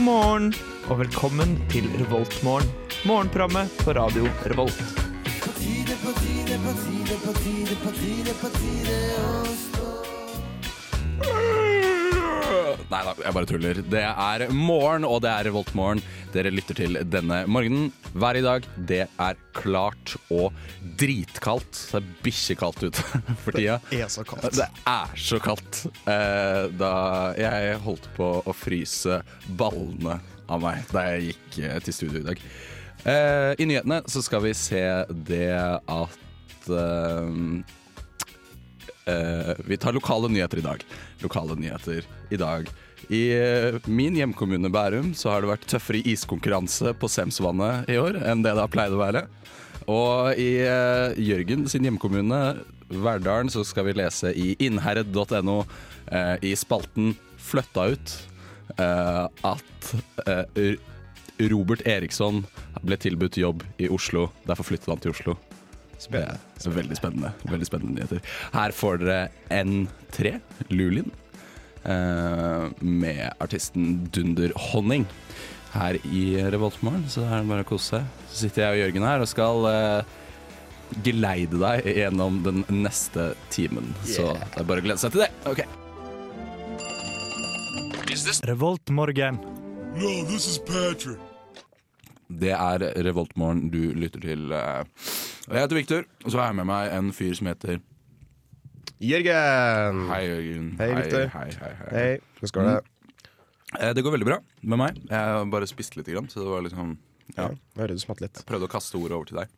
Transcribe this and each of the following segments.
morgen og velkommen til Revoltmorgen. Morgenprogrammet på radio Revolt. Nei da, jeg bare tuller. Det er morgen, og det er Revoltmorgen. Dere lytter til denne morgenen. Været i dag, det er klart og dritkaldt. Det er bikkjekaldt ute for tida. er så kaldt. Det er så kaldt. Eh, Da jeg holdt på å fryse ballene av meg da jeg gikk eh, til studio i dag. Eh, I nyhetene så skal vi se det at eh, eh, Vi tar lokale nyheter i dag. Lokale nyheter i dag. I eh, min hjemkommune Bærum så har det vært tøffere iskonkurranse på Semsvannet i år enn det det har pleid å være. Og i eh, Jørgen sin hjemkommune Verdalen så skal vi lese i innherred.no eh, i spalten 'Fløtta ut' eh, at eh, R- Robert Eriksson ble tilbudt jobb i Oslo. Derfor flyttet han til Oslo. Spennende. Det er veldig spennende. Veldig spennende nyheter. Her får dere N3, Lulin, eh, med artisten Dunder Honning. Her i Revoltmorgen, så er det bare å kose seg. Så sitter jeg og Jørgen her og skal eh, geleide deg gjennom den neste timen. Så det er bare å glede seg til det. Ok. Revoltmorgen. Det er Revoltmorgen du lytter til. eh. Og jeg heter Victor, og så har jeg med meg en fyr som heter Jørgen! Hei, Jørgen. Hei, Mm, Victor. Hei, hei, hei. Hei. Hvordan går det? Eh, Det går veldig bra med meg. Jeg bare spiste litt, grann, så det var liksom ja. Ja. Jeg Hører du smatt litt? Prøvde å kaste ordet over til deg.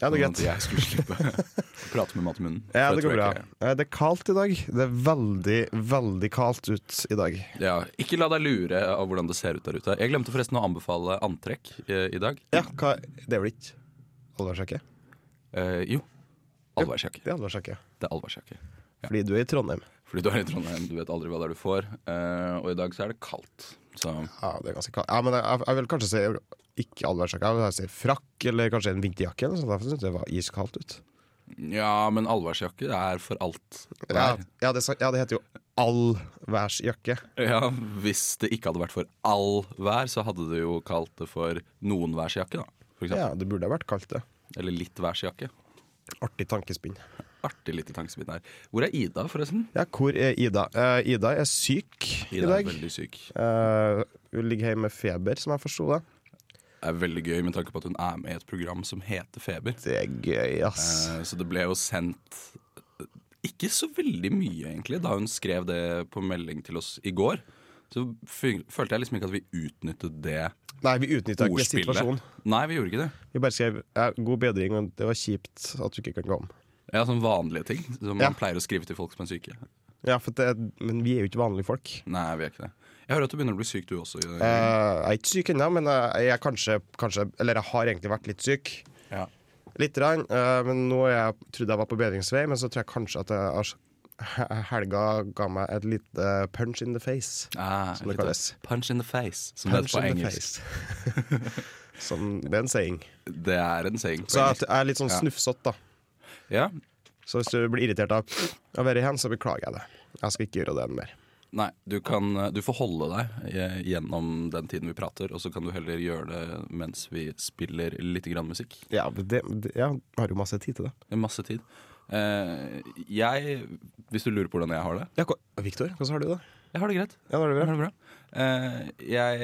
Ja, det er Sånn at greit. jeg skulle slippe å prate med mat i munnen. Ja, For det jeg går bra. tror jeg Eh, Det er kaldt i dag. Det er veldig, veldig kaldt ut i dag. Ikke, ja. ikke la deg lure av hvordan det ser ut der ute. Jeg glemte forresten å anbefale antrekk eh, i dag. Ja, hva Det er vel ikke alvorsjakke? Eh, jo. Allværsjakke. Det er alvorsjakke. Det er allværsjakke. Fordi du er i Trondheim. Fordi du er i Trondheim, du vet aldri hva det er du får. Eh, og i dag så er det kaldt. Så Ja, det er ganske kaldt. Ja, men jeg, jeg vil kanskje si ikke alvorsjakke. Jeg vil kanskje si frakk eller kanskje en vinterjakke. eller noe sånt. Derfor syntes jeg det var iskaldt ut. ja, men allværsjakke er for alt. Ja, vær. ja, det, er sant. ja det heter jo allværsjakke. Ja, Hvis det ikke hadde vært for all vær, så hadde du jo kalt det for noen værsjakke, da. For eksempel. Ja, det burde ha vært kaldt, det. Eller litt værsjakke. Artig tankespinn. Artig lite tankespinn her. Hvor er Ida, forresten? Ja, hvor er Ida? Eh, Ida er syk i Ida er dag. veldig syk. Det Eh, hun ligger hjemme med feber, som jeg forsto det. er veldig gøy med tanke på at hun er med i et program som heter Feber. Det er gøy, ass. Eh, Så det ble jo sendt eh, ikke så veldig mye, egentlig, da hun skrev det på melding til oss i går. Så fy- følte jeg liksom ikke at vi utnyttet det Nei, vi utnytta ikke situasjonen. ordspillet. Nei, vi gjorde ikke det. Vi bare skrev ja, 'god bedring', og det var kjipt at du ikke kan komme. Ja, Sånne vanlige ting som Ja. man pleier å skrive til folk som er syke. Ja, for det, men vi er jo ikke vanlige folk. Nei, vi er ikke det. Jeg hører at du begynner å bli syk, du også. Eh, jeg er ikke syk ennå, men eh, jeg er kanskje, kanskje Eller jeg har egentlig vært litt syk. Ja. Litt, rann, eh, men nå er jeg, trodde jeg var på bedringsvei, men så tror jeg kanskje at jeg, har- helga ga meg et lite punch in the face. Ah, Som det ikke kalles. Punch in the face, som det Punch heter på in the engelsk. face. som, det er en saying. Det er en saying. på Så engelsk. jeg er litt sånn Ja. snufsete, da. Ja? Så hvis du blir irritert av å være hen, så beklager jeg det. Jeg skal ikke gjøre det mer. Nei, du, kan, du får holde deg eh, gjennom den tiden vi prater, og så kan du heller gjøre det mens vi spiller litt grann musikk. Ja, men det, det, jeg har jo masse tid til det. Det er Masse tid. Eh, jeg, hvis du lurer på hvordan jeg har det Ja, hva, Victor, hvordan har du det? Jeg har det greit. Ja, da er det Jeg bra. har det bra. Eh, jeg,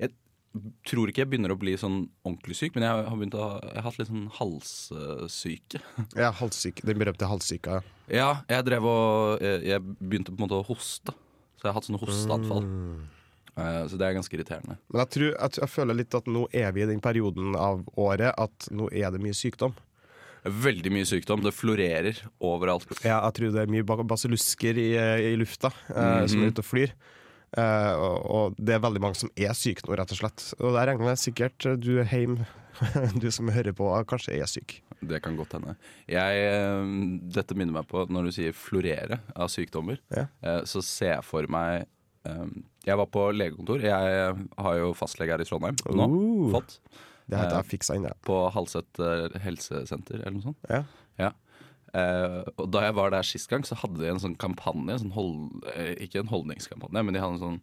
eh, jeg tror ikke jeg begynner å bli sånn ordentlig syk, men jeg har, begynt å, ha- jeg har hatt litt sånn halssyke. Jeg er halssyk, den berømte halssyka. Ja, jeg drev og Jeg, jeg begynte på en måte å hoste. Så jeg har hatt sånne hosteanfall. Eh, så det er ganske irriterende. Men jeg, tror, jeg, tror- jeg føler litt at nå er vi i den perioden av året at nå er det mye sykdom. Veldig mye sykdom. Det florerer overalt. Ja, jeg tror det er mye ba- basillusker i, i lufta eh, som er ute og flyr. Eh, og, og det er veldig mange som er syke nå, rett og slett. Og der regner jeg sikkert eh, du hjemme, du som hører på, kanskje er syk. Det kan godt hende. Jeg, eh, dette minner meg på når du sier florere av sykdommer. Ja. eh, så ser jeg for meg eh, Jeg var på legekontor. Jeg har jo fastlege her i Trondheim nå. Uh. Fått. Det har Ja. ikke jeg fiksa ennå. På Halset eh, helsesenter eller noe sånt. Ja. Ja. Eh, og da jeg var der sist gang, så hadde de en sånn kampanje. en Sånn hold, eh, ikke en holdningskampanje, men de hadde en sånn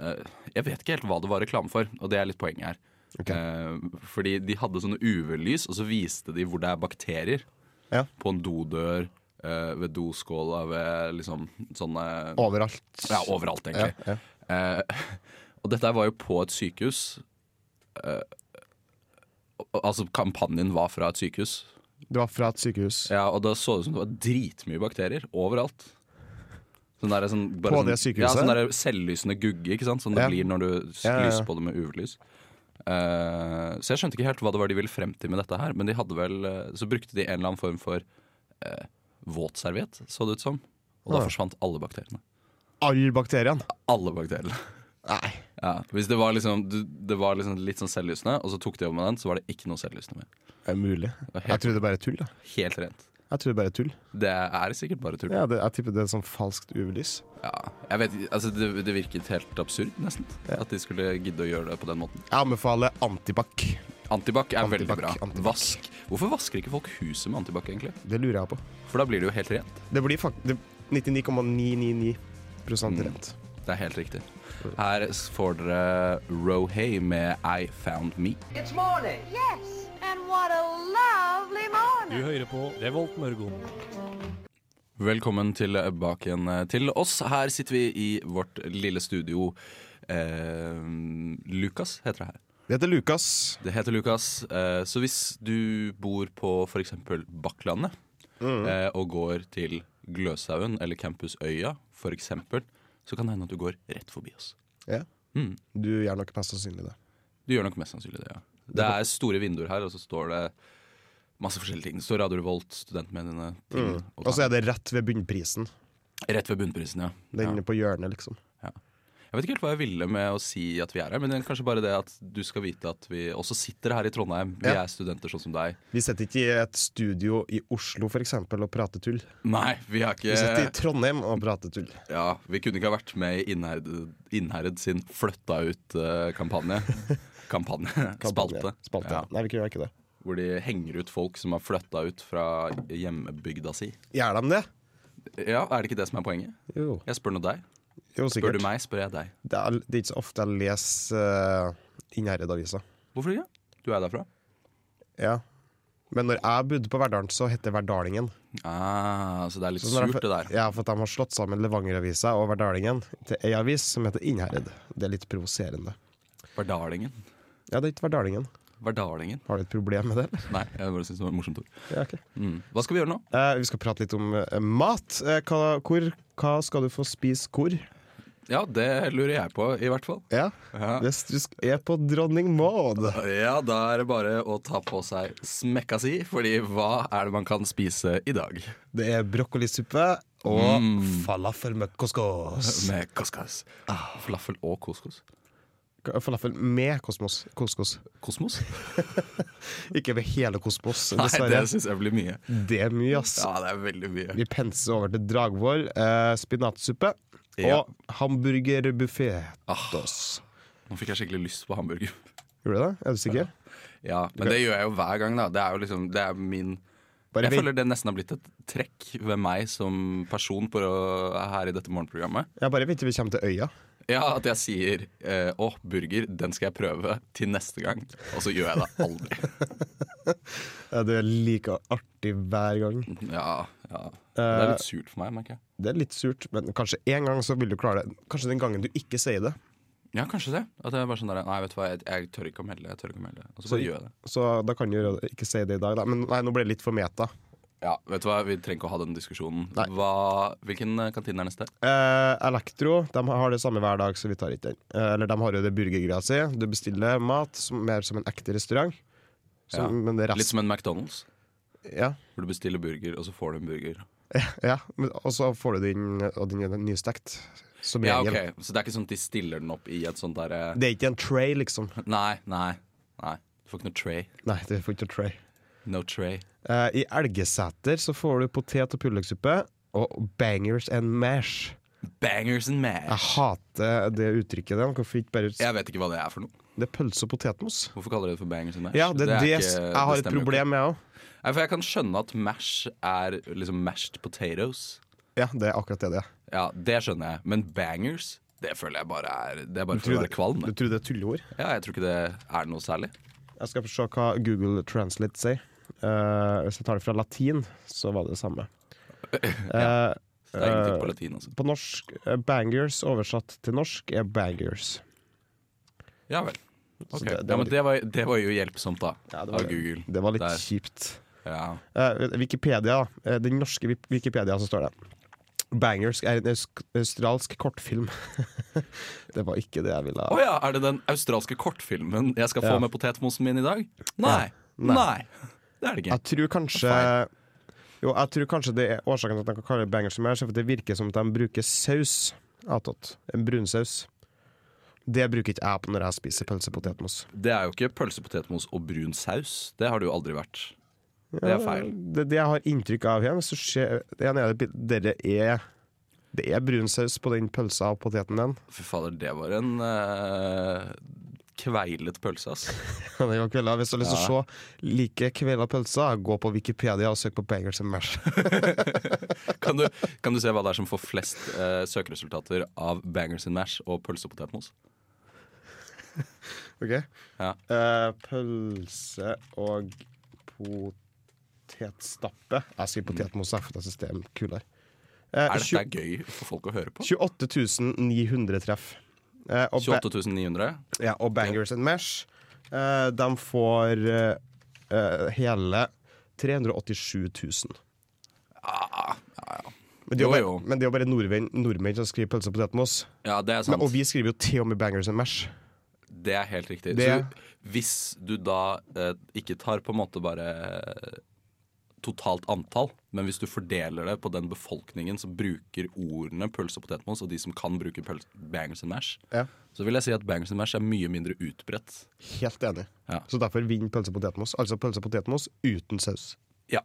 eh, Jeg vet ikke helt hva det var reklame for, og det er litt poenget her. Ok. Eh, fordi de hadde sånne UV-lys, og så viste de hvor det er bakterier. Ja. På en dodør, eh, ved doskåla, ved liksom sånne Overalt. Ja, overalt, egentlig. Ja, Eh, og dette her var jo på et sykehus. Eh, al- altså, kampanjen var fra et sykehus. Det var fra et sykehus. Ja, og da så det ut som det var dritmye bakterier overalt. Sånn der, sånn, bare På det sånn- sykehuset? Ja, sånn der selvlysende gugge, ikke sant? Som det Ja. blir når du s- Ja, ja, ja. lyser på det med UV-lys. Eh, så jeg skjønte ikke helt hva det var de ville frem til med dette her, men de hadde vel eh, Så brukte de en eller annen form for eh, våtserviett, så det ut som. Og da Ja. forsvant alle bakteriene. Alle bakteriene. Alle bakteriene. Nei. Ja, hvis det var, liksom, du- det var liksom litt sånn selvlysende, og så tok de over med den, så var det ikke noe selvlysende mer. Det er mulig. var helt- Jeg tror det bare er tull. da. Helt rent. Jeg tror det bare er tull. Det er sikkert bare tull. Ja, det, jeg tipper det er sånn falskt UV-lys. Ja, jeg vet, ikke, altså det, det virket helt absurd, nesten. At de skulle gidde å gjøre det på den måten. Jeg anbefaler antibac. Antibac er veldig Antibac, bra. antibac. Vask. Hvorfor vasker ikke folk huset med antibac, egentlig? Det lurer jeg på. For da blir det jo helt rent. Det blir faktisk 99,999 Mm. rent. Det er helt riktig. Her får dere Rohay med I Found Me. It's morning. Yes, and what a lovely morning. Du hører på Revolt Mørgo. Velkommen tilbake igjen eh, til oss. Her sitter vi i vårt lille studio. Eh, Lukas heter det her. Det heter Lukas. Det heter Lukas. Eh, så hvis du bor på f.eks. Bakklandet Mm. eh, og går til Gløshaugen eller Campusøya f.eks., så kan det hende at du går rett forbi oss. Ja. Mm. Du gjør nok mest sannsynlig det. Du gjør nok mest sannsynlig det, ja. Det er store vinduer her, og så står det masse forskjellige ting. Det står Radio Revolt, studentmediene ting og Og så er det rett ved bunnprisen. tang. Rett ved bunnprisen, ja. ja. Den på hjørnet, liksom. Jeg vet ikke helt hva jeg ville med å si at vi er her, men det er kanskje bare det at du skal vite at vi også sitter her i Trondheim. Vi Ja. er studenter sånn som deg. Vi sitter ikke i et studio i Oslo for eksempel, og prater tull. Nei, vi har ikke Vi sitter i Trondheim og prater tull. Ja, Vi kunne ikke ha vært med i Innherred, Innherred sin flytta ut-kampanje. Kampanje. Spalte. Spalte. Ja, Nei, vi gjør ikke det. hvor de henger ut folk som har flytta ut fra hjemmebygda si. Gjør de det? Ja, Er det ikke det som er poenget? Jo, Jeg spør nå deg. jo Spør sikkert. du meg, spør jeg deg. Det, er, det er ikke så ofte jeg leser uh, Innherred-avisa. Hvorfor ikke? Du er derfra? Ja. Men når jeg bodde på Verdalen, så het det Verdalingen. Ah, så det er litt Så når jeg surt, det får- der. Ja, for at de har slått sammen Levanger-avisa og Verdalingen til ei avis som heter Innherred. Det er litt provoserende. Verdalingen. Ja, det er ikke Verdalingen. Verdalingen. Har du et problem med det, eller? Nei, jeg bare synes det var et morsomt ord. Ja, ok. Mm. Hva skal vi gjøre nå? Eh, vi skal prate litt om eh, mat. Eh, hva, hvor, hva skal du få spise hvor? Ja, det lurer jeg på, i hvert fall. Ja, Ja. Hvis du sk- er på Dronning Maud. Ja, da er det bare å ta på seg smekka si, fordi hva er det man kan spise i dag? Det er brokkolisuppe og Mm. falafel med couscous. Med couscous. Falafel og couscous. K- Falafel med kosmos. couscous. Kosmos? Ikke med hele kosmos, Nei, dessverre. det syns jeg blir mye. det... er mye, ass. Ja, det er veldig mye. Vi penser over til Dragvoll. Eh, spinatsuppe Ja. Ah. og hamburgerbuffé. Dos. Nå fikk jeg skikkelig lyst på hamburger. Gjorde du det? Er du sikker? Ja, Men det gjør jeg jo hver gang, da. Det er jo liksom, det er min Bare Jeg vent, føler det nesten har blitt et trekk ved meg som person på, her i dette morgenprogrammet. jeg bare vent til vi kommer til øya. Ja, At jeg sier eh, 'Å, burger, den skal jeg prøve til neste gang', og så gjør jeg det aldri. Eh, Det er like artig hver gang. Ja, ja. Eh, Det er litt surt for meg, merker jeg. Det er litt surt, men kanskje en gang så vil du klare det. Kanskje den gangen du ikke sier det. Ja, kanskje det. At jeg bare sånn der, Nei, vet du hva, jeg, jeg tør ikke å melde. Jeg tør ikke å melde Og så Så- bare gjør jeg det. Så da kan du gjøre det- ikke si det i dag, da. Men nei, nå ble det litt for meta. Ja, vet du hva, Vi trenger ikke å ha den diskusjonen. Nei. Hva, hvilken eh, kantine er neste? Eh, Elektro de har det samme hver dag, så vi tar ikke den. Eh, eller de har jo det burgergreia si. Du bestiller mat som, mer som en ekte restaurant. Så, Ja. Men det Litt resten som en McDonald's. Ja. Hvor du bestiller burger, og så får du en burger. ja. Men, og så får du den, og den er nystekt. Som Ja, regel. ok, Så det er ikke sånn at de stiller den opp i et sånt derre Det er ikke en tray, liksom. Nei, nei. nei Du får ikke noe tray. Nei, det får ikke en tray. No tray. Eh, I Elgeseter så får du potet- og pullegsuppe og bangers and mash. Bangers and mash. Jeg hater det uttrykket der. Hvorfor ikke bare Jeg vet ikke hva det er for noe. Det er pølse og potetmos. Hvorfor kaller de det for bangers and mash? Ja, det, er det, ikke- jeg det har et stemmer jo ikke. problem med òg. Nei, for Jeg kan skjønne at mash er liksom mashed potatoes. Ja, det er akkurat det det er. Ja, Det skjønner jeg. Men bangers Det føler jeg bare er Det er bare Du for å tror være kvalm. det- det. Du tror det er tulleord? Ja, jeg tror ikke det er noe særlig. Jeg skal se hva Google Translate sier. Eh, hvis jeg tar det fra latin, så var det det samme. Eh, Det er ingenting på eh, latin, altså. på norsk eh, bangers oversatt til norsk er bangers. Ja vel. Så Ok. det- det ja, var men det var, det var jo hjelpsomt, da. Ja, det var av det. Google. Det var litt Der. kjipt. Ja. Eh, Wikipedia, eh, den norske Wik- Wikipedia, så står det Bangers er en ausk- australsk kortfilm. det var ikke det jeg ville Å ha. ja, er det den australske kortfilmen jeg skal få Ja. med potetmosen min i dag? Nei. Nei. Nei. Det er det ikke. Jeg tror kanskje Jo, jeg tror kanskje det er årsaken til at de kan kalle det bangers mer, så for det virker som at de bruker saus attåt. En brunsaus. Det bruker ikke jeg på når jeg spiser pølsepotetmos. Det er jo ikke pølsepotetmos og brun saus. Det har det jo aldri vært. Det er feil. Det, det jeg har inntrykk av her, så skjer det ene er at dere er Det er brunsaus på den pølsa og poteten din. Fy fader, det var en eh, kveilet pølse, ass. Det var kvelda. Hvis du har lyst til å se like kvelda pølsa, gå på Wikipedia og søk på Bangers and Mash. Kan du, kan du se hva det er som får flest eh, søkeresultater av bangers and mash og pølsepotetmos? Ok? Ja. Eh, pølse og potetstappe. Jeg sier potetmos, jeg, for det syns det er kulere. Eh, Er dette tjue- gøy for folk å høre på? 28 900 treff. Eh, og, ba 28 900? ja, og Bangers and Mash, eh, de får eh, eh, hele 387 000. Ah, ja, ja. Men det er Jo, jo jo. bare, men det er jo bare nordmenn, nordmenn som skriver pølse og potetmos. ja, det er Men, sant. og vi skriver jo til og med Bangers and Mash. Det er helt riktig. Det- Så hvis du da eh, ikke tar på en måte bare eh, totalt antall, men hvis du fordeler det på den befolkningen som bruker ordene pølse og potetmos, og de som kan bruke pøls- bangers and mash, Ja. så vil jeg si at bangers and mash er mye mindre utbredt. Helt enig. Ja. Så derfor vinner pølse og potetmos. Altså pølse og potetmos uten saus. Ja.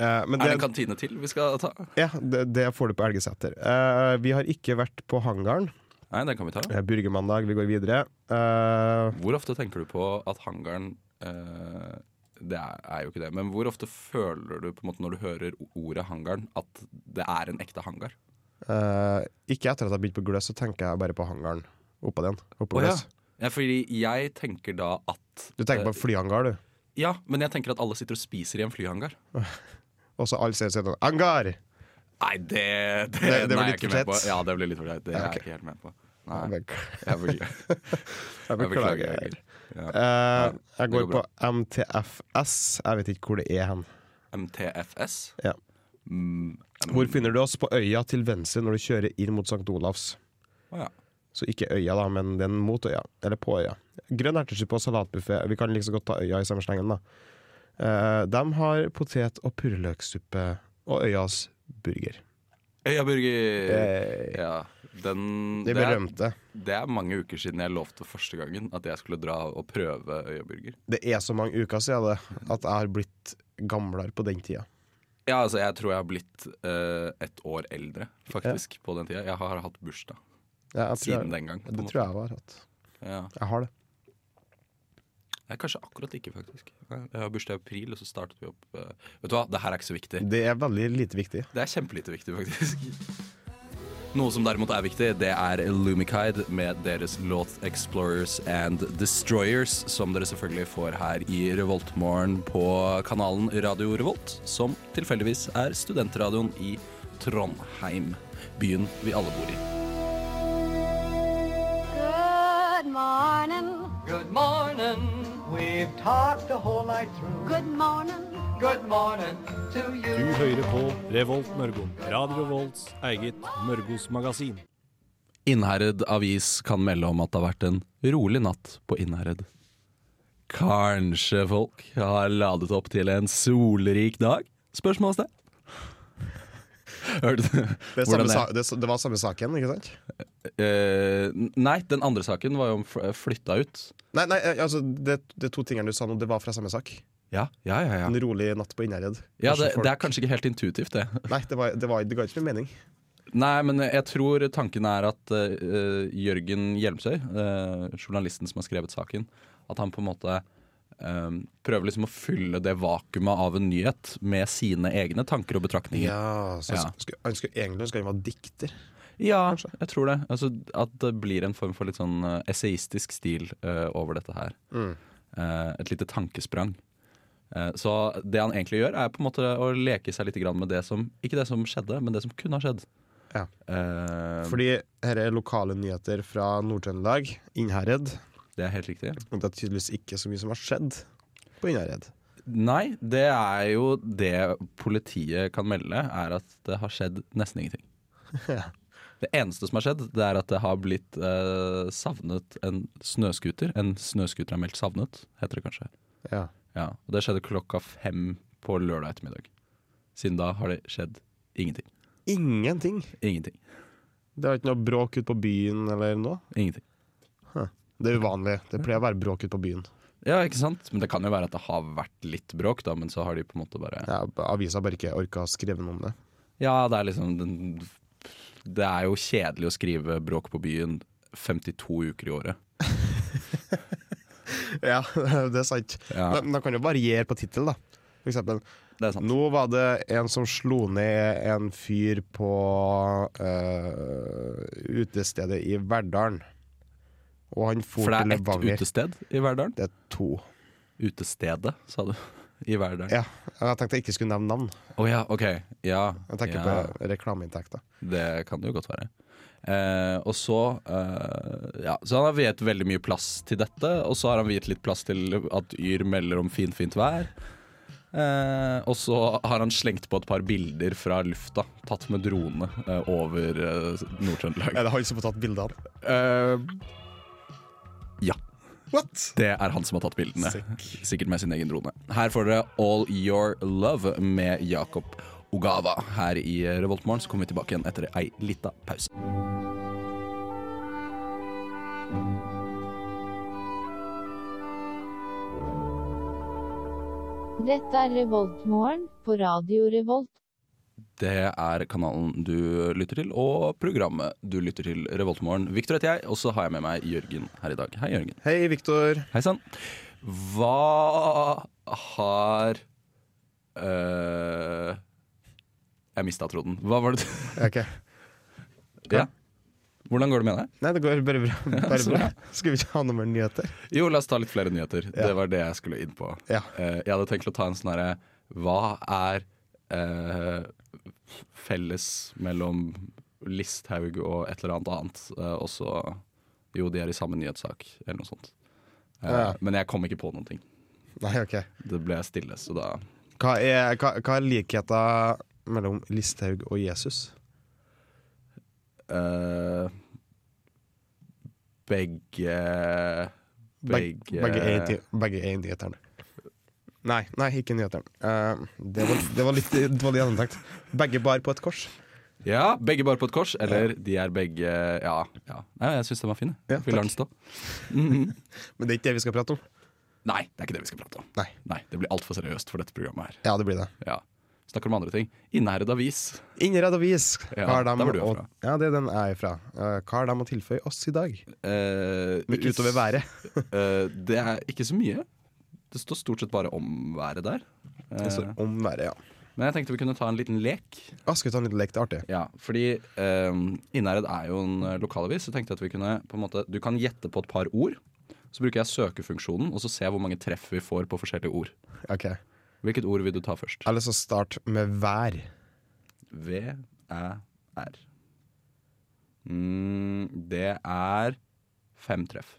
Eh, men Er det en det, kantine til vi skal ta? ja, det, det får du på Elgeseter. Eh, vi har ikke vært på hangaren. Nei, den kan vi ta. Eh, Burgermandag, vi går videre. Eh, Hvor ofte tenker du på at hangaren eh, Det er, er jo ikke det, men hvor ofte føler du på en måte når du hører ordet hangaren, at det er en ekte hangar? eh, ikke etter at jeg begynte på gløs, så tenker jeg bare på hangaren. Oppå den. Oppå Å ja. gløs. ja, fordi jeg tenker da at Du tenker på en flyhangar, du. Ja, men jeg tenker at alle sitter og spiser i en flyhangar. Og så alle sier sånn Hangar! Nei, det Det, Det- det den var er jeg litt ikke for med på. tett. Ja, det ble litt for tett. Det Ja, er ok. jeg ikke helt med på. Nei, Jeg jeg beklager. Jeg beklager. beklager. Ja. Eh, det jeg går går på bra. MTFS. Jeg vet ikke hvor det er hen. MTFS. Ja. Mm, Hvor finner du oss? På øya til venstre når du kjører inn mot St. Olavs. å ja. Så ikke øya, da, men den mot øya. Eller på øya. Grønn ertesuppe og salatbuffé. Vi kan liksom godt ta øya i samme slengen, da. Eh, de har potet- og purreløksuppe og øyas burger. Øyaburger. Eh, Ja. Den, de det, er, berømte. det er mange uker siden jeg lovte første gangen at jeg skulle dra og prøve øyaburger. Det er så mange uker siden det, at jeg har blitt gamlere på den tida. Ja, altså, jeg tror jeg har blitt eh, et år eldre, faktisk, på den tida. Jeg har hatt bursdag Ja, jeg tror siden jeg, den gang. på en det måte. tror jeg jeg har hatt. Ja. Jeg har det. Nei, kanskje akkurat ikke, faktisk. Nei, Jeg har bursdag i april, og så startet vi opp eh, Vet du hva, det her er ikke så viktig. Det er veldig lite viktig. Det er kjempelite viktig, faktisk. Noe som derimot er viktig, det er Lumikide med deres låt 'Explorers and Destroyers', som dere selvfølgelig får her i Revoltmorgen på kanalen Radio Revolt, som tilfeldigvis er studentradioen i Trondheim, byen vi alle bor i. Good morning. Good morning. We've talked the whole night through. Good morning. Good morning to Du you. hører på Revolt Mørgo. Radio Revolts eget Mørgos magasin. Innherred Avis kan melde om at det har vært en rolig natt på Innherred. Kanskje folk har ladet opp til en solrik dag? Spørsmålstegn. Hørte du? Det, er Hvordan samme, sa- det, er s- det var samme saken, ikke sant? Eh, nei, den andre saken var jo om fl- flytta ut. Nei, nei eh, altså, det, det er to tingene du sa nå, det var fra samme sak. Ja, ja, ja. ja. En rolig natt på Innherred. ja Kanskje det, folk- det er kanskje ikke helt intuitivt, det. Nei, det, var, det, var, det ga ikke noe mening. Nei, men jeg tror tanken er at eh, Jørgen Hjelmsøy, eh, journalisten som har skrevet saken, at han på en måte eh, prøver liksom å fylle det vakuumet av en nyhet med sine egne tanker og betraktninger. Ja, så Ja. Skulle, han skulle, Egentlig skulle han være dikter. Ja, Ja, jeg tror det. Altså, at det blir en form for litt sånn eh, essayistisk stil eh, over dette her. Mm. Eh, et lite tankesprang. Eh, så det han egentlig gjør, er på en måte å leke seg litt grann med det som Ikke det som skjedde, men det som kunne ha skjedd. Ja. Eh, Fordi her er lokale nyheter fra Nord-Trøndelag, Innherred. det er helt riktig. Og det er tydeligvis ikke så mye som har skjedd på Innherred. Nei, det er jo det politiet kan melde, er at det har skjedd nesten ingenting. Det eneste som har skjedd, det er at det har blitt eh, savnet en snøskuter. En snøskuter er meldt savnet, heter det kanskje. Ja. Ja, og Det skjedde klokka fem på lørdag ettermiddag. Siden da har det skjedd ingenting. Ingenting. Ingenting. Det er ikke noe bråk ute på byen eller noe. Ingenting. Det er uvanlig. Det pleier å være bråk ute på byen. Ja, ikke sant? Men det kan jo være at det har vært litt bråk, da, men så har de på en måte bare Ja, avisa bare ikke orka å skrive noe om det. Ja, det er liksom den- Det er jo kjedelig å skrive bråk på byen 52 uker i året. Ja, det er sant. Ja. Men de kan jo variere på tittel, da. For eksempel. Det er sant. Nå var det en som slo ned en fyr på eh, utestedet i Verdalen. Og han for For det til er ett Levanger. utested i Verdalen. Det er to. Utestedet, sa du. I Verdalen. Å ja. Ja, jeg tenkte jeg ikke skulle nevne navn. ok. Ja. Jeg tenker ja. på reklameinntekter. Det kan det jo godt være. Eh, og så eh, Ja, så han har viet veldig mye plass til dette. Og så har han viet litt plass til at Yr melder om finfint fint vær. Eh, og så har han slengt på et par bilder fra lufta, tatt med drone eh, over eh, Nord-Trøndelag. Er det han som har tatt bildene? ja. Eh, What? Det er han som har tatt bildene. Sick. Sikkert med sin egen drone. Her får dere All Your Love med Jakob Ogawa. Her i eh, Revoltmorgen så kommer vi tilbake igjen etter ei lita pause. Dette er Revoltmorgen på Radio Revolt. Det er kanalen du lytter til, og programmet du lytter til, Revoltmorgen. Victor heter jeg, og så har jeg med meg Jørgen her i dag. Hei, Jørgen. Hei, Viktor. Hei sann. Hva har øh, Jeg mista tråden. Hva var det du Ok. ja. Hvordan går det med deg? Nei, det går bare bra. Bare så bra. Skal vi ikke ha noe mer nyheter? Jo, la oss ta litt flere nyheter. Det var det jeg skulle inn på. Ja. Eh, jeg hadde tenkt å ta en sånn herre Hva er eh, felles mellom Listhaug og et eller annet annet? Eh, og så Jo, de er i samme nyhetssak, eller noe sånt. Eh, Ja. Men jeg kom ikke på noen ting. Nei, ok. Det ble stille, så da Hva er, hva, hva er likheten mellom Listhaug og Jesus? eh, Begge Beg- Begge Begge er, i ti- begge er i nyhetene. Nei, nei, ikke nyhetene. Eh, det, var, det var litt dårlig gjennomtenkt. Begge bar på et kors. Ja, begge bare på et kors. Eller de er begge Ja. ja. Nei, jeg syns den var fin. Ja, jeg. Vi lar den takk. stå. Men det er ikke det vi skal prate om. Nei, det er ikke det vi skal prate om. Nei. Nei, Det blir altfor seriøst for dette programmet her. Ja, det blir det. Ja. Snakker om andre ting. Innherred avis. Innredd avis. Ja, Hva har dem der var du å- fra. ja, det er den jeg er fra. Eh, hva har de å tilføye oss i dag? Eh, Midt utover været. eh, det er ikke så mye. Det står stort sett bare om været der. Eh, Altså, om været, ja. men jeg tenkte vi kunne ta en liten lek. Ah, skal vi ta en liten lek? Det er artig. Ja, fordi eh, Innherred er jo en eh, lokalavis. Så tenkte jeg at vi kunne på en måte, Du kan gjette på et par ord. Så bruker jeg søkefunksjonen, og så ser jeg hvor mange treff vi får på forskjellige ord. Ok. Jeg Hvilket ord vil du ta først? har lyst til å starte med vær. E, V-æ-r. Mm, det er fem treff.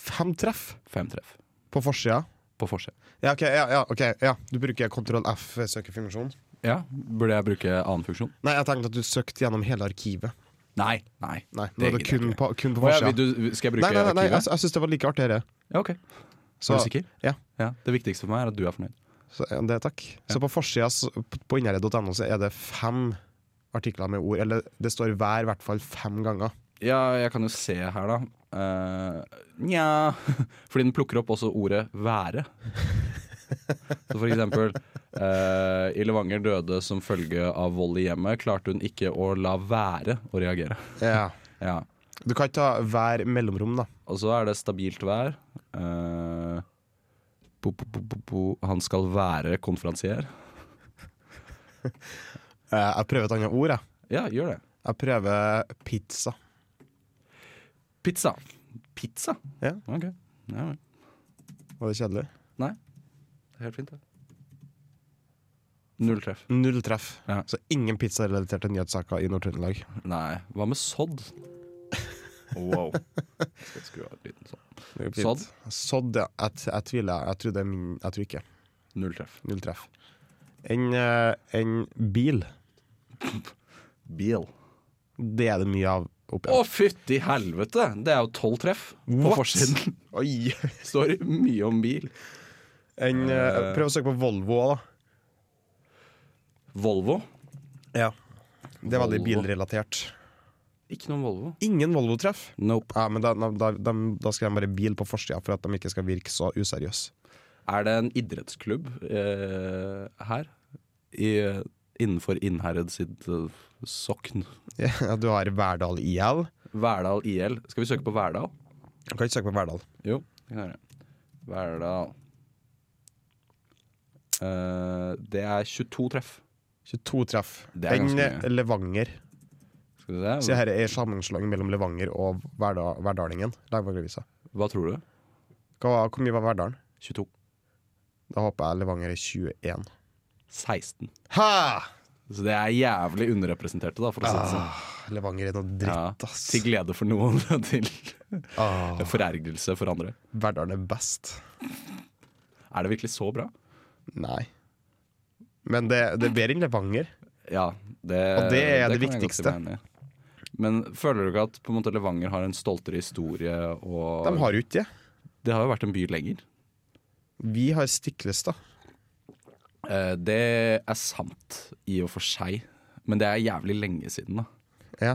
Fem treff Fem treff på forsida. på forsiden. Ja, ok, ja, ja, ok, ja. Du bruker kontroll F-søkefunksjonen. Ja, Burde jeg bruke annen funksjon? Nei, jeg tenkte at du søkte gjennom hele arkivet. Nei. nei, Nei, nå er det gidder jeg kun ikke. på, kun på Å ja, forsida. vil du, Skal jeg bruke Nei, nei, nei, nei, jeg, arkivet? jeg syns det var like artig, dette. Ja, ok. Så- er du sikker? Ja, altså- Ja, det viktigste for meg er at du er fornøyd. så, ja, det, takk. Så på forsida s- på innherred.no så er det fem artikler med ord. Eller det står hver i hvert fall fem ganger. Ja, jeg kan jo se her, da. Eh, Nja Fordi den plukker opp også ordet 'være'. Så for eksempel eh, I Levanger døde som følge av vold i hjemmet. Klarte hun ikke å la være å reagere. Ja. Ja. Du kan ikke ta hver mellomrom, da. Og så er det stabilt vær. Eh, bo, bo, bo, bo, bo. Han skal være konferansier. Eh, Jeg prøver et annet ord, jeg. Ja, gjør det. Jeg prøver pizza. Pizza. Pizza? Ja. Ok. Ja, vel. Var det kjedelig? Helt fint, det. Null treff. Null treff. Ja. Så ingen pizzarelaterte nyhetssaker i Nord-Trøndelag. Nei. Hva med sodd? Wow. Skal jeg skru av lyden sånn. Det går fint. Sodd? Sodd, ja. Jeg, t- jeg tviler. Jeg tror det er min Jeg tror ikke. Null treff. Null treff. En, eh, en bil. Bil. Det er det mye av opp Å, fytti helvete! Det er jo tolv treff på What? forsiden. Oi! Står mye om bil. En, eh, prøv å søke på Volvo òg, da. Volvo. Ja. Det er veldig Volvo. bilrelatert. Ikke noen Volvo. Ingen Volvo-treff. Nope. Ja, men da, da, da, da skal de bare bil på forsida for at de ikke skal virke så useriøse. Er det en idrettsklubb eh, her? I, eh, innenfor Innherred sitt eh, sokn. Ja, du har Verdal IL. Verdal IL. Skal vi søke på Verdal? Du kan ikke søke på Verdal. Jo, det kan jeg gjøre. Verdal. Eh, det er 22 treff. 22 treff. Det er en eh, ganske mye. Levanger. Skal vi se. Så her er sammenslåing mellom Levanger og Verda, Verdalingen. Levangervisa. Hva tror du? Hva, hvor mye var Verdalen? 22. Da håper jeg Levanger er 21. 16. Ha! Så det er jævlig underrepresenterte, da, for å si det Ah. sånn. Levanger er noe Ja, dritt, ass. til glede for noen, og til Ah, forergelse for andre. Verdalen er best. Er det virkelig så bra? Nei. Men det, det er bedre enn Levanger. Ja, det, Og det er det kan jeg godt si viktigste. meg enig i. Men føler du ikke at på en måte Levanger har en stoltere historie? Og De har jo ikke det. Det har jo vært en by lenger. Vi har Stiklestad. Eh, det er sant i og for seg, men det er jævlig lenge siden, da. Ja.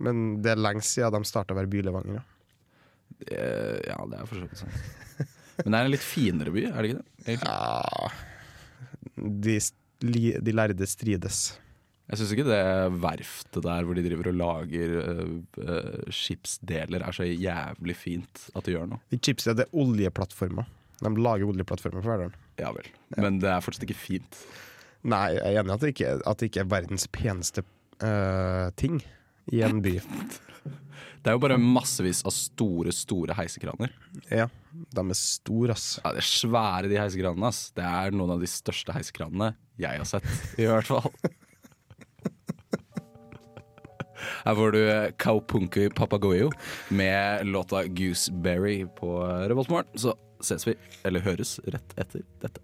Men det er lenge siden de starta å være by Levanger. Ja. Eh, ja, det er for så vidt sant. Men det er en litt finere by, er det ikke det? Egentlig? Ja. De, st- de lærde strides. Jeg syns ikke det verftet der hvor de driver og lager eh, eh, skipsdeler, er så jævlig fint at det gjør noe. De chipsa det er oljeplattformer. De lager oljeplattformer for Verdalen. Ja vel. Men det er fortsatt ikke fint. Nei, jeg er enig i at det ikke, at det ikke er verdens peneste øh, ting i en by. Det er jo bare massevis av store, store heisekraner. Ja, de er store, ass. Ja, det er svære de heisekranene, ass. Det er noen av de største heisekranene jeg har sett, i hvert fall. Her får du eh, Kaupunki Papagoyo med låta 'Gooseberry' på Revoltmorgen. Så ses vi, eller høres, rett etter dette.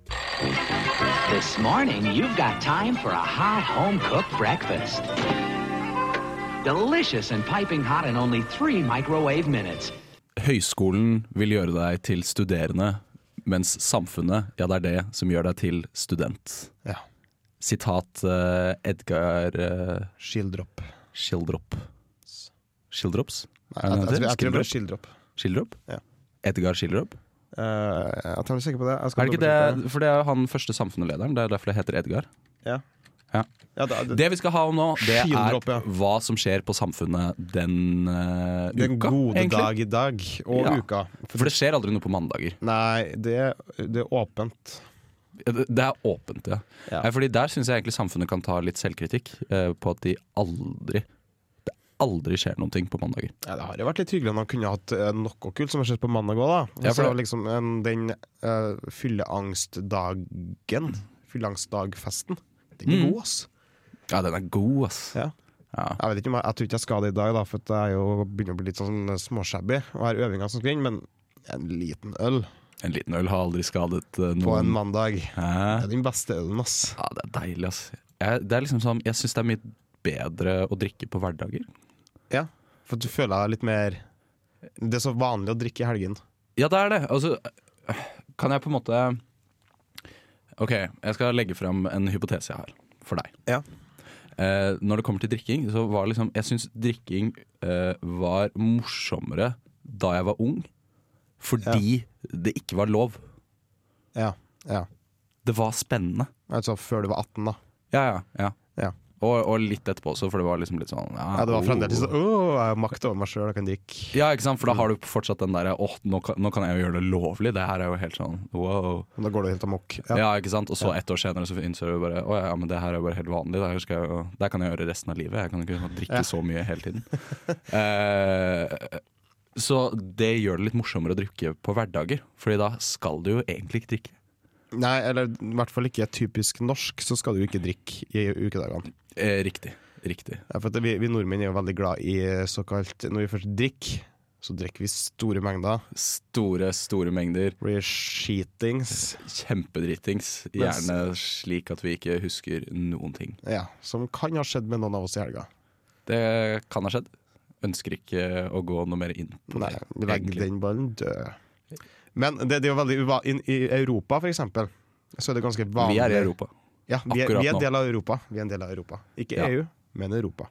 This morning, you've got time for a hot home cooked breakfast. Delicious and piping hot in only three microwave minutes. Høyskolen vil gjøre deg til studerende, mens samfunnet, ja det er det som gjør deg til student. Ja. Sitat eh, Edgar eh, Skildropp. Schildrop. Schildrops? Nei, Er det jeg, jeg, det tror- jeg tror det heter? var skildropp. Schildrop? Ja. Edgar Schildrop? Eh, jeg tar meg sikker på det. Jeg skal Er det ikke dobbeltsjekke det? For det er jo han første samfunnslederen. Det er derfor det heter Edgar. Ja. Ja. Ja, da- det, Det vi skal ha om nå, det er Schildrop, ja. hva som skjer på samfunnet den eh, den uka, gode egentlig. dag i dag, og Ja. uka. For det skjer aldri noe på mandager. Nei, det, det er åpent. Det det er åpent, ja. Ja. Nei, Fordi der syns jeg egentlig samfunnet kan ta litt selvkritikk eh, på at de aldri det aldri skjer noen ting på mandager. Ja, det har jo vært litt hyggelig om man kunne hatt eh, noe kult som har skjedd på mandag òg, da. Ja, Og for så det- liksom en- den eh, fylleangstdagen, fylleangstdagfesten. Den Mm. er god, ass. Ja, den er god, ass. Ja. Ja. Jeg vet ikke om jeg, jeg tror ikke jeg skal det i dag, da, for at jeg er jo begynner å bli litt sånn småshabby og har øvinger som skal inn, men en liten øl En liten øl har aldri skadet eh, på en noen. mandag Hæ? Det er den beste ølen, ass. Ja, det er deilig, ass. Jeg, det er liksom sånn, jeg syns det er mye bedre å drikke på hverdager. Ja, for at du føler deg litt mer Det er så vanlig å drikke i helgen. Ja, det er det. Altså, kan jeg på en måte Ok, jeg skal legge frem en hypotese jeg har for deg. Ja. Eh, når det kommer til drikking, så var liksom Jeg syns drikking eh, var morsommere da jeg var ung, fordi det ikke var lov. Ja. ja. Det var spennende. Altså før du var 18, da. Ja, ja, ja. Ja. Og, og litt etterpå også, for det var liksom litt sånn Ja, Ja, det var oh. fremdeles sånn Åh, jeg har makt over meg sjøl, jeg kan drikke. Ja, ikke sant, for da har du fortsatt den derre Åh, nå, kan- nå kan jeg jo gjøre det lovlig. Det her er jo helt sånn wow. Men Da går det helt amok. Ja, Ja. ikke sant, Og så ett år senere så innser du bare Å ja, men det her er jo bare helt vanlig. Det her, skal jeg, jo- det her kan jeg gjøre resten av livet. Jeg kan ikke liksom drikke så mye hele tiden. Eh, så det gjør det litt morsommere å drikke på hverdager, Fordi da skal du jo egentlig ikke drikke. Nei, eller i hvert fall ikke typisk norsk, så skal du ikke drikke i ukedagene. Eh, riktig. Riktig. Ja, For at vi, vi nordmenn er jo veldig glad i såkalt Når vi først drikker, så drikker vi store mengder. Store, store mengder. Blir skitings. Kjempedritings. Mens- Gjerne slik at vi ikke husker noen ting. Ja, som kan ha skjedd med noen av oss i helga. Det kan ha skjedd. Ønsker ikke å gå noe mer inn på Nei, det. legg egentlig. den ballen død. Men det, det er jo veldig uva i, I Europa, for eksempel, så er det ganske vanlig Vi er i Europa. Ja, vi er, akkurat vi er nå. en del av Europa. Vi er en del av Europa. Ikke Ja. EU, men Europa.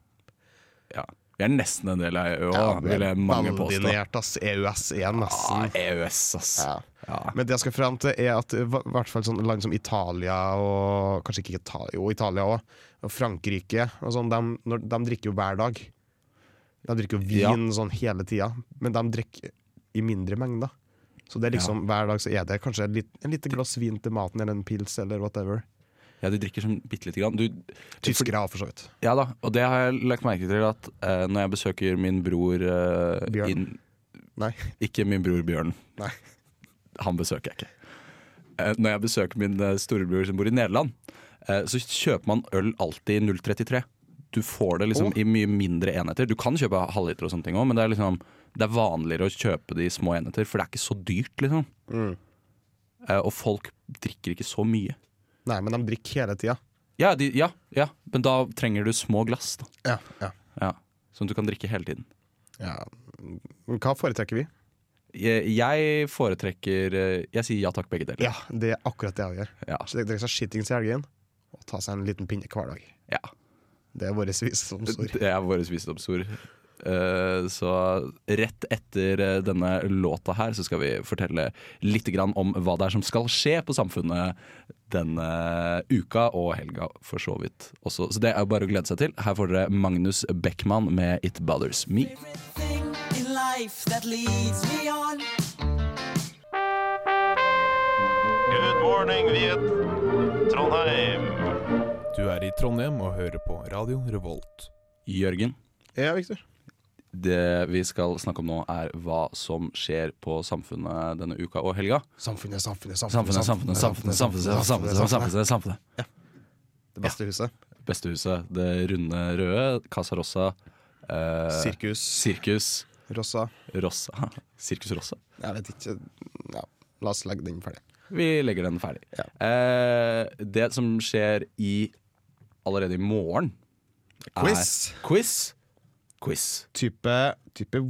Ja. Vi er nesten en del av E EU, vil jeg mange påstå. Bandinert, ass. EØS er nesten Ah, EØS, ass. E ja. Ja. Men det jeg skal frem til, er at i hva- hvert fall sånne land som Italia og Kanskje ikke Italia, jo, Italia òg. Og Frankrike og sånn, de, når, de drikker jo hver dag. De drikker jo Ja. vin sånn hele tida, men de drikker i mindre mengder. Så det er liksom hver dag så er det kanskje et lit- en lite glass vin til maten eller en pils eller whatever. ja, de drikker sånn bitte lite grann. Du, Tyskere har for så vidt. ja da, og det har jeg lagt merke til at eh, når jeg besøker min bror eh, Bjørn. inn- Nei. Ikke min bror Bjørn. Nei. Han besøker jeg ikke. Eh, når jeg besøker min eh, storebror som bor i Nederland, eh, så kjøper man øl alltid i 033. Du får det liksom Åh. i mye mindre enheter. Du kan kjøpe halvliter og sånne ting òg, men det er, liksom, det er vanligere å kjøpe de i små enheter, for det er ikke så dyrt, liksom. Mm. Eh, og folk drikker ikke så mye. Nei, men de drikker hele tida. Ja, de, ja, ja, men da trenger du små glass, da. Ja, ja. Ja, som du kan drikke hele tiden. ja. Men Hva foretrekker vi? Jeg, jeg foretrekker eh, Jeg sier ja takk, begge deler. Ja, det er akkurat det jeg gjør. Ja. Så det- Drikke seg skitings i helgen og ta seg en liten pinne hver dag. ja. Det er vår visdomsord. Det er våre visdomsord. Eh, Så rett etter eh, denne låta her så skal vi fortelle litt grann om hva det er som skal skje på samfunnet denne uka og helga for så vidt også. Så det er bare å glede seg til. Her får dere Magnus Beckman med It Bothers Me. Good morning, Viet. Trondheim. Du er i Trondheim og hører på Radio Revolt. Jørgen, Ja, Victor. det vi skal snakke om nå er hva som skjer på samfunnet denne uka og helga. Samfunnet, samfunnet, Samfunnet, samfunnet, samfunnet, samfunnet, samfunnet, samfunnet, samfunnet. Det beste huset. Bestehuset, det runde røde, Casa Rosa, eh, Sirkus. Sirkus Rossa. Rossa. Sirkus Rossa. Jeg vet ikke. Ja, la oss legge den ferdig. Vi legger den ferdig. Ja. Eh, det som skjer i allerede i morgen er Quiz. Quiz. Quiz. Type, type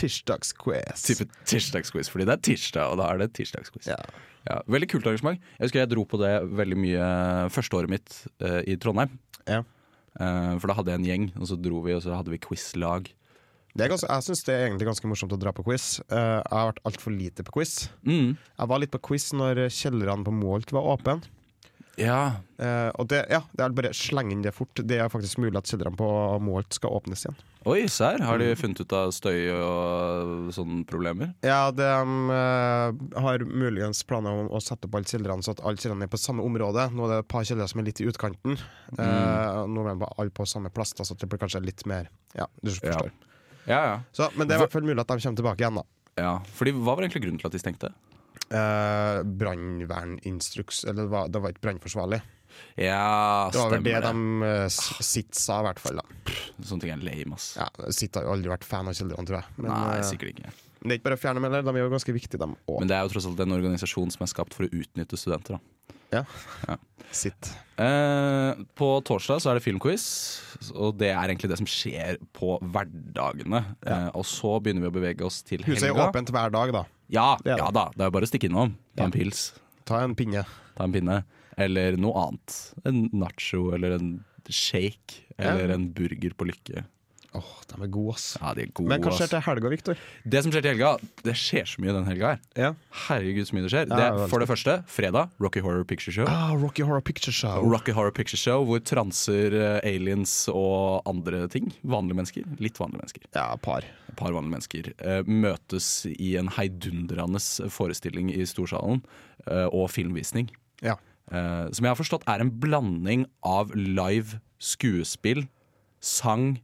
tirsdagsquiz. Type tirsdagsquiz, fordi det er tirsdag, og da er det tirsdagsquiz. Ja. Ja, veldig kult arrangement. Jeg husker jeg dro på det veldig mye første året mitt eh, i Trondheim. Ja. Eh, for da hadde jeg en gjeng, og så dro vi, og så hadde vi quizlag. Det er ganske, jeg syns det er egentlig ganske morsomt å dra på quiz. Eh, jeg har vært altfor lite på quiz. Mm. Jeg var litt på quiz når kjellerne på Målt var åpne. Ja, Eh, og det, ja, det er bare slenge inn det fort. Det er faktisk mulig at kjellerne på Målt skal åpnes igjen. Oi, serr. Har de funnet ut av støy og sånne problemer? Ja, de eh, har muligens planer om å sette opp alle kjellerne så at alle kjellerne er på samme område. Nå er det et par kjellere som er litt i utkanten. Eh, nå er de bare alle på samme plass, da, så det blir kanskje litt mer Ja, du forstår. Ja, ja. Så, men det er i hvert fall mulig at de kommer tilbake igjen, da. ja. Fordi, hva var egentlig grunnen til at de stengte? Eh, Brannverninstruks Eller det var, det var ikke brannforsvarlig. Ja, Det var vel det stemmer det. de eh, s- sitt sa, i hvert fall. da Sånne ting er lame, ass. ja, Sitt har jo aldri vært fan av kjellerne, tror jeg. Men, Nei, eh, sikkert ikke. men det er ikke bare å fjerne dem heller, de er jo ganske viktige, dem òg. Men det er jo tross alt en organisasjon som er skapt for å utnytte studenter. Da. Ja. Ja. Sitt. Eh, på torsdag så er det filmquiz, og det er egentlig det som skjer på hverdagene. Eh, og så begynner vi å bevege oss til Huset er jo helga. åpent hver dag, da. Ja, Det er det. ja da, det er jo bare å stikke innom. Ta en Ja. pils, Ta en pinne. ta en pinne. Eller noe annet. En nacho eller en shake. Eller en burger på Lykke. Åh, de er gode, ass. Ja, de er gode, Men hva skjer ass. til helga, Viktor? Det som skjer til helga, det skjer så mye den helga her. Ja. Herregud, så mye det skjer. Ja, Det veldig. er for det første fredag, Rocky Horror Picture Show. Ah, Rocky Horror Picture Show. Rocky Horror Picture Show, hvor transer, eh, aliens og andre ting, vanlige mennesker, litt vanlige mennesker, Ja, par. et par vanlige mennesker, eh, møtes i en heidundrende forestilling i Storsalen eh, og filmvisning. Ja. eh, Som jeg har forstått er en blanding av live skuespill, sang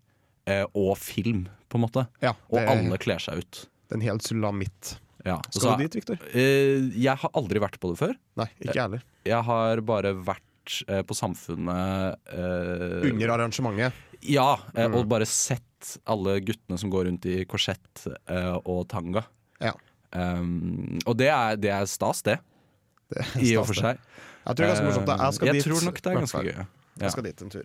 eh, og film, på en måte. Ja, Og det- alle kler seg ut. Det er en hel sulamitt. Ja. Skal så- du dit, Victor? Eh, jeg har aldri vært på det før. Nei, ikke jeg heller. Jeg har bare vært eh, på Samfunnet eh, Under arrangementet. Ja, eh, Mm. og bare sett alle guttene som går rundt i korsett eh, og tanga. Ja. Um, og det er, det er stas, det. Det er I og for stas, seg. det. Jeg tror det er ganske morsomt. da. Jeg skal Eh, dit. tror nok det i er hvert ganske fall. gøy. ja. Jeg skal dit en tur.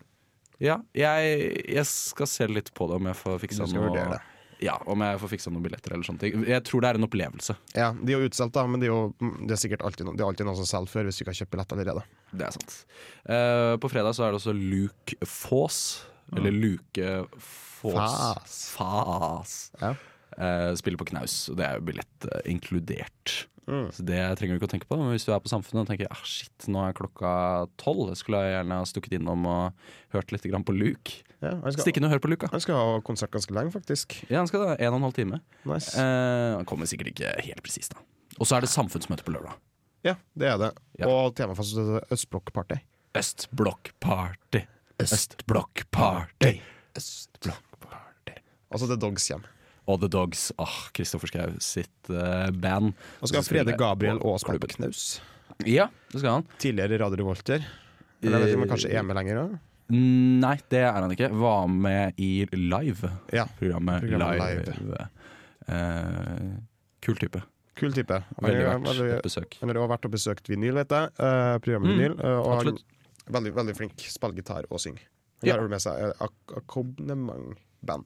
Ja, jeg, jeg skal se litt på det om jeg får Du fiksa skal vurdere noe det. ja, om jeg får fiksa noen billetter eller sånne ting. Jeg tror det er en opplevelse. Ja, De er jo utsolgt, da, men det er jo mm, det er sikkert alltid, no- det er alltid noen som selger før, hvis du ikke har kjøpt billett allerede. Det er sant. Eh, på fredag så er det også Luke Foss. Eller Luke Foss. Fas. Fas. Ja. Eh, spiller på knaus, og det er jo billett eh, inkludert. Så det trenger du ikke å tenke på. Men hvis du er på Samfunnet og tenker ah, shit, nå er klokka tolv, jeg skulle jeg gjerne ha stukket innom og hørt litt grann på Luke. Ja, han, skal, Stikk inn og hør på Luke, da. han skal ha konsert ganske lenge, faktisk. Ja, han skal det. En og en halv time. Nice. Eh, han kommer sikkert ikke helt presis, da. Og så er det samfunnsmøte på lørdag. Ja, det er det. Ja. Og temafest Østblokkparty. Østblokkparty. Østblokkparty. Østblokkparty. Altså The Dogs hjem. Og The Dogs. Ah, Kristoffer Schau sitt eh, band. Og skal Som spiller Frede Gabriel på og spille på klubben. knaus. Ja, det skal han. Tidligere Radio Revolter. Eller jeg vet ikke om han kanskje er med lenger òg? Nei, det er han ikke. Var med i Live. Ja. Programmet, Programmet Live. Eh, kul type. Kul type. Han Veldig er- verdt veldig- et besøk. Han har også vært og besøkt vinyl, vet jeg. eh, programmet Mm, Vinyl. eh, og han, absolutt. veldig, veldig flink. Spiller gitar og synger. Han Ja. har jo med seg eh, ak- akkompagnementband.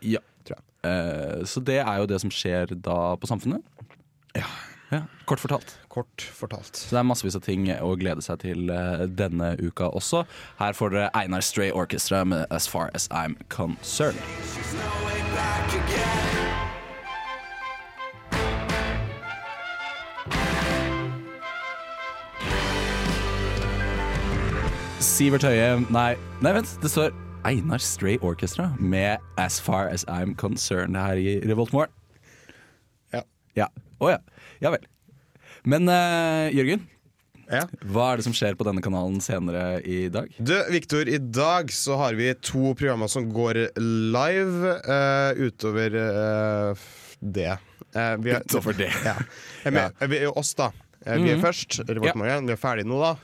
Ja. Tror jeg. Eh, så det er jo det som skjer da på Samfunnet. Ja, Kort fortalt. Kort fortalt. Så det er massevis av ting å glede seg til eh, denne uka også. Her får dere Einar Stray Orchestra med As Far As I'm Concerned. Sivert Høie Nei, nei vent, det står Einar Stray Orchestra med As Far As I'm Concerned her i Revolt Morgen. Ja. Ja. Å ja. Ja vel. Men eh, Jørgen, Ja. hva er det som skjer på denne kanalen senere i dag? Du, Viktor, i dag så har vi to programmer som går live eh, utover eh, f- det. Eh, vi er- Utover det. Ja. Eh, Men, eh, Vi er jo oss, da. Eh, vi er først. Ja. Revolt Morgen. Vi er ferdig nå, da.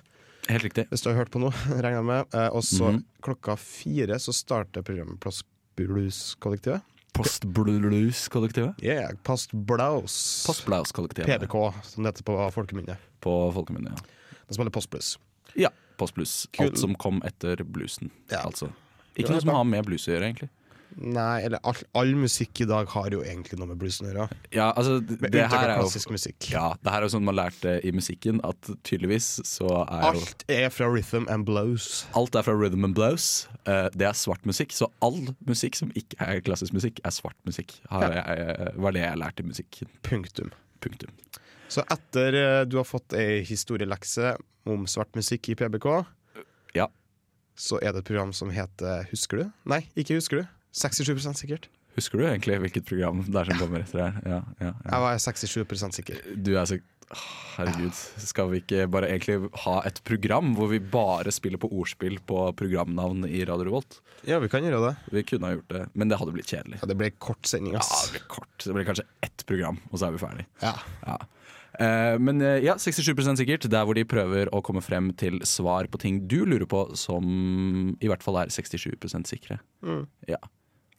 Helt riktig. Hvis du har hørt på nå, regner jeg med. Eh, og så Mhm. klokka fire så starter programmet Plass Blues-kollektivet. Postblues-kollektivet. Yeah, Past Blouse. Postblaus-kollektivet PBK, som det heter på folkemunne. på folkemunne. De spiller Post Blues. Ja. ja. Postblues. Kul. Alt som kom etter bluesen, Ja. altså. Det Ikke var noe som bra. har med blues å gjøre, egentlig. Nei, eller all, all musikk i dag har jo egentlig noe med bluesen å gjøre. Ja, altså, d- Med det unntak her av er klassisk jo musikk. ja, det her er jo sånn man lærte i musikken, at tydeligvis så er jo Alt er fra rhythm and blues. Alt er fra rhythm and blues. Eh, det er svart musikk, så all musikk som ikke er klassisk musikk, er svart musikk. Har jeg, eh, var det jeg lærte i musikken. Punktum. Punktum. Så etter eh, du har fått ei historielekse om svart musikk i PBK, Ja. så er det et program som heter Husker du? Nei, ikke Husker du. 67 sikkert. Husker du egentlig hvilket program det er som kommer etter her? Ja, ja, ja. Jeg var 67 sikker. Du er så Herregud, skal vi ikke bare egentlig ha et program hvor vi bare spiller på ordspill på programnavn i Radio Revolt? Ja, vi kan gjøre det. Vi kunne ha gjort det, men det hadde blitt kjedelig. Ja, det ble kort sending, Ja, det ass. blir kort. Det blir kanskje ett program, og så er vi ferdig. Ja. Ja. Eh, Men eh, ja, 67 sikkert. Der hvor de prøver å komme frem til svar på ting du lurer på, som i hvert fall er 67 sikre. Mm. Ja.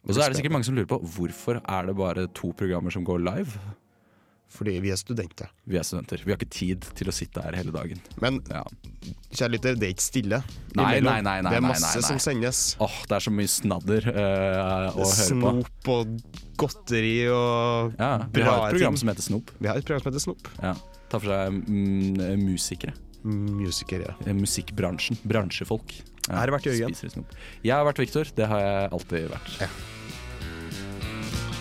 Og så er det sikkert mange som lurer på hvorfor er det bare to programmer som går live. Fordi vi er studenter. Vi er studenter. Vi har ikke tid til å sitte her hele dagen. Men Ja. kjære lytter, det er ikke stille. Nei, nei, imellom. nei, nei, det er nei, masse nei, nei. som sendes. Åh, det er så mye snadder eh, å høre på. Snop og godteri og Ja, vi bra har et program ting. som heter Snop. Vi har et program som heter Snop. Ja. Tar for seg mm, musikere. Musikere. Eh, Musikkbransjen. Bransjefolk. Ja, Her har det vært Jørgen. spiser snop. Jeg har vært Victor. Det har jeg alltid vært.